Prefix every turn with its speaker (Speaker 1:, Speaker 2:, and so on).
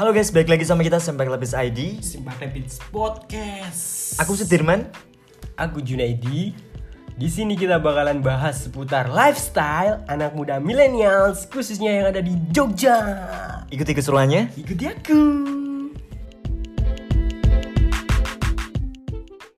Speaker 1: Halo guys, balik lagi sama kita Sempak Lapis ID.
Speaker 2: Simpang Rapids Podcast.
Speaker 1: Aku Sudirman.
Speaker 3: Aku Junaidi. Di sini kita bakalan bahas seputar lifestyle anak muda millennials khususnya yang ada di Jogja.
Speaker 1: Ikuti keseruannya.
Speaker 3: Ikuti aku.